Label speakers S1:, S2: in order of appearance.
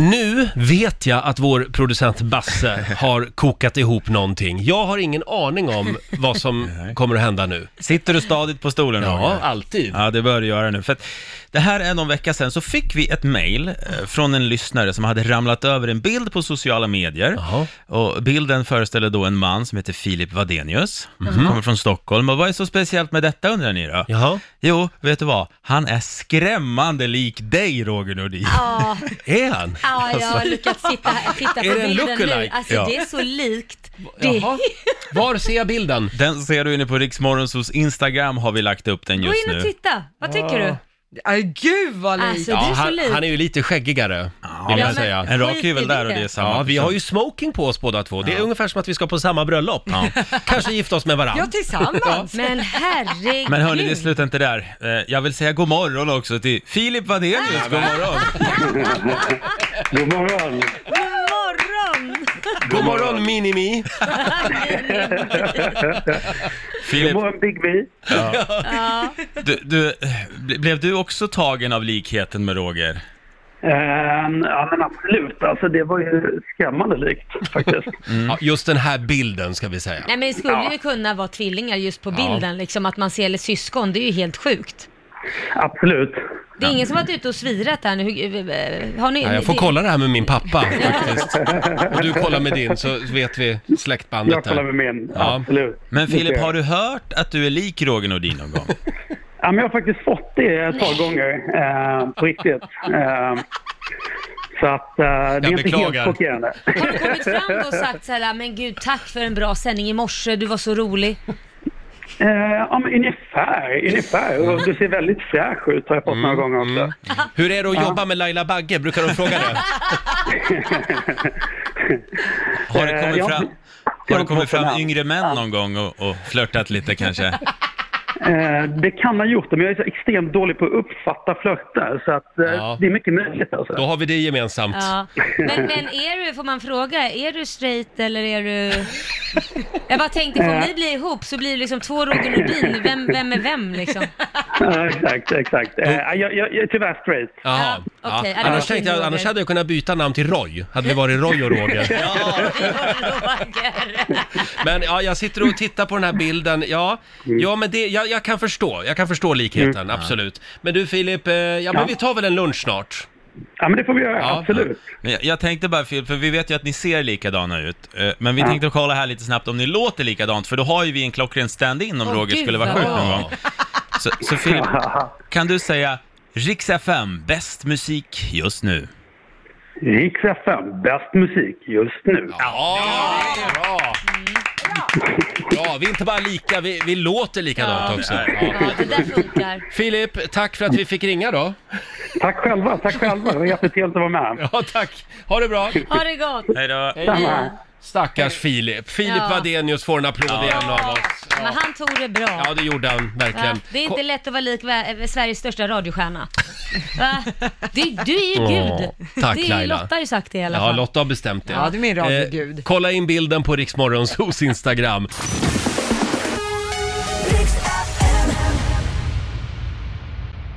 S1: Nu vet jag att vår producent Basse har kokat ihop någonting. Jag har ingen aning om vad som kommer att hända nu.
S2: Sitter du stadigt på stolen?
S1: Ja,
S2: Roger?
S1: alltid.
S2: Ja, det bör du göra nu. För att det här är någon vecka sedan så fick vi ett mejl eh, från en lyssnare som hade ramlat över en bild på sociala medier.
S1: Jaha.
S2: Och bilden föreställer då en man som heter Filip Vadenius,
S1: Mhm.
S2: som kommer från Stockholm. Och vad är så speciellt med detta undrar ni då?
S1: Jaha.
S2: Jo, vet du vad? Han är skrämmande lik dig, Roger Nordin.
S3: Ja,
S1: Är han? Alltså,
S3: ja jag har lyckats sitta här, titta på
S1: Är det en
S3: bilden nu.
S1: lookalike?
S3: Alltså
S2: Ja.
S3: det är så likt. Det är
S1: Jaha. Var ser jag bilden?
S2: Den ser du inne på Riksmorgonsos Instagram har vi lagt upp den
S3: Gå
S2: just
S3: in och
S2: nu.
S3: titta, vad tycker du?
S4: Aj, gud vad lik!
S3: Alltså det
S1: Ja,
S3: är så
S1: han,
S3: likt.
S1: han är ju lite skäggigare, vill
S2: Ja,
S1: jag
S2: men-
S1: säga.
S2: En rak
S3: Skit
S2: är väl
S3: i
S2: där och
S3: det.
S2: det är samma
S1: Ja, vi
S2: person.
S1: har ju smoking på oss båda två. Det är ungefär som att vi ska på samma bröllop. Kanske gifta oss med
S4: Ja,
S1: varandra.
S4: tillsammans!
S3: Men herregud.
S2: Men hörni, det slutar inte där. Eh, Jag vill säga god morgon också till Filip Wadenius. God morgon!
S5: God morgon!
S3: God morgon!
S1: God morgon Minimi!
S5: God
S2: Filip,
S5: morgon Big Me!
S3: Ja.
S2: du, du, eh, ble- blev du också tagen av likheten med Roger?
S5: Ehm, ja men absolut, alltså det var ju skrämmande likt faktiskt.
S2: Mm.
S1: Ja, just den här bilden ska vi säga.
S3: Nej men det skulle ju kunna vara tvillingar just på bilden, liksom att man ser eller syskon, det är ju helt sjukt.
S5: Absolut.
S3: Det är ingen som varit ute och svirat här nu? Hur- eh, Har ni,
S1: Ja, jag får
S3: det-
S1: kolla det här med min pappa faktiskt. Och du kollar med din så vet vi
S5: Jag
S1: släktbandet
S5: kollar
S1: där.
S5: med min,
S1: Ja.
S5: absolut.
S2: Men Filip,
S5: Mycket.
S2: har du hört att du är lik Roger Nordin någon gång?
S5: Ja men jag har faktiskt fått det ett par gånger, eh, på riktigt. Ehm, så att eh, det är inte
S1: beklagar.
S5: helt chockerande.
S3: Har du kommit fram då och sagt så här, men gud tack för en bra sändning i morse, du var så rolig.
S5: Eh, ja men ungefär, ungefär. Och du ser väldigt fräsch ut har jag fått
S2: Mm,
S5: några gånger också.
S1: Hur är det att jobba med Laila Bagge? Brukar de fråga det?
S2: Har det
S5: Eh,
S2: kommit
S5: jag-
S2: fram, har
S5: jag
S2: det kommit
S5: har fått
S2: fram
S5: en-
S2: yngre män någon gång och, och flörtat lite kanske?
S5: Eh, det kan ha gjort det, men jag är så extremt dålig på att uppfatta flörtar så att eh,
S1: Ja.
S5: det är mycket möjligt alltså.
S1: Då har vi det gemensamt.
S3: Ja. Men, men är du, får man fråga, är du straight eller är du... Jag bara tänkte, för om ni blir ihop så blir det liksom två Roger Nordin, vem, vem är vem liksom?
S5: Ja, exakt, exakt. Eh, jag, jag, jag är tyvärr straight.
S1: Jaha.
S3: Ja, okej. Ja, det
S1: Annars,
S3: var
S1: tänkte jag,
S3: synd,
S1: annars
S3: Roger.
S1: hade jag kunnat byta namn till Roy. Hade vi varit Roy och Roger.
S3: Roger.
S1: Men ja, jag sitter och tittar på den här bilden. Ja,
S5: Mm.
S1: ja men det, jag, jag kan förstå. Jag kan förstå likheten, absolut. Men du Filip, eh, ja men vi tar väl en lunch snart?
S5: Ja, men det får vi göra,
S1: Ja.
S5: absolut.
S2: Men jag, jag tänkte bara Filip, för vi vet ju att ni ser likadana ut. eh, Men vi tänkte kolla här lite snabbt om ni låter likadant, för då har ju vi en klockren stand-in om
S3: Åh,
S2: Roger
S3: gud,
S2: skulle vara
S3: vad
S2: sjuk
S3: bra.
S2: någon gång. Så, så Filip, kan du säga Rix FM, bäst musik just nu?
S5: Riks FM, bäst musik just nu.
S1: Ja, bra!
S5: Mm.
S1: Ja, vi är inte bara lika, vi, vi låter likadant
S3: Ja.
S1: också.
S3: Ja, det där funkar.
S1: Filip, tack för att vi fick ringa då.
S5: Tack själva, tack själva. Det var jättetrevligt att vara med.
S1: Ja, tack. Ha det bra.
S3: Ha det gott.
S2: Hej då!
S5: Samma.
S1: Stackars Filip. Filip
S3: Ja.
S1: Wadenius får en applåd igen av oss.
S3: Men han tog det bra.
S1: Ja, det gjorde han
S3: Va?
S1: verkligen.
S3: Det är
S1: Ko-
S3: inte lätt att vara lik vä- Sveriges största radiostjärna. Va? Du, du är ju gud.
S1: Åh, tack,
S3: det är,
S1: Laila.
S3: Lotta har ju sagt det i alla
S1: Ja,
S3: fall.
S1: Lotta har bestämt det. Eh,
S4: Ja, du är min radiogud.
S1: kolla in bilden på Riksmorgonsos Instagram.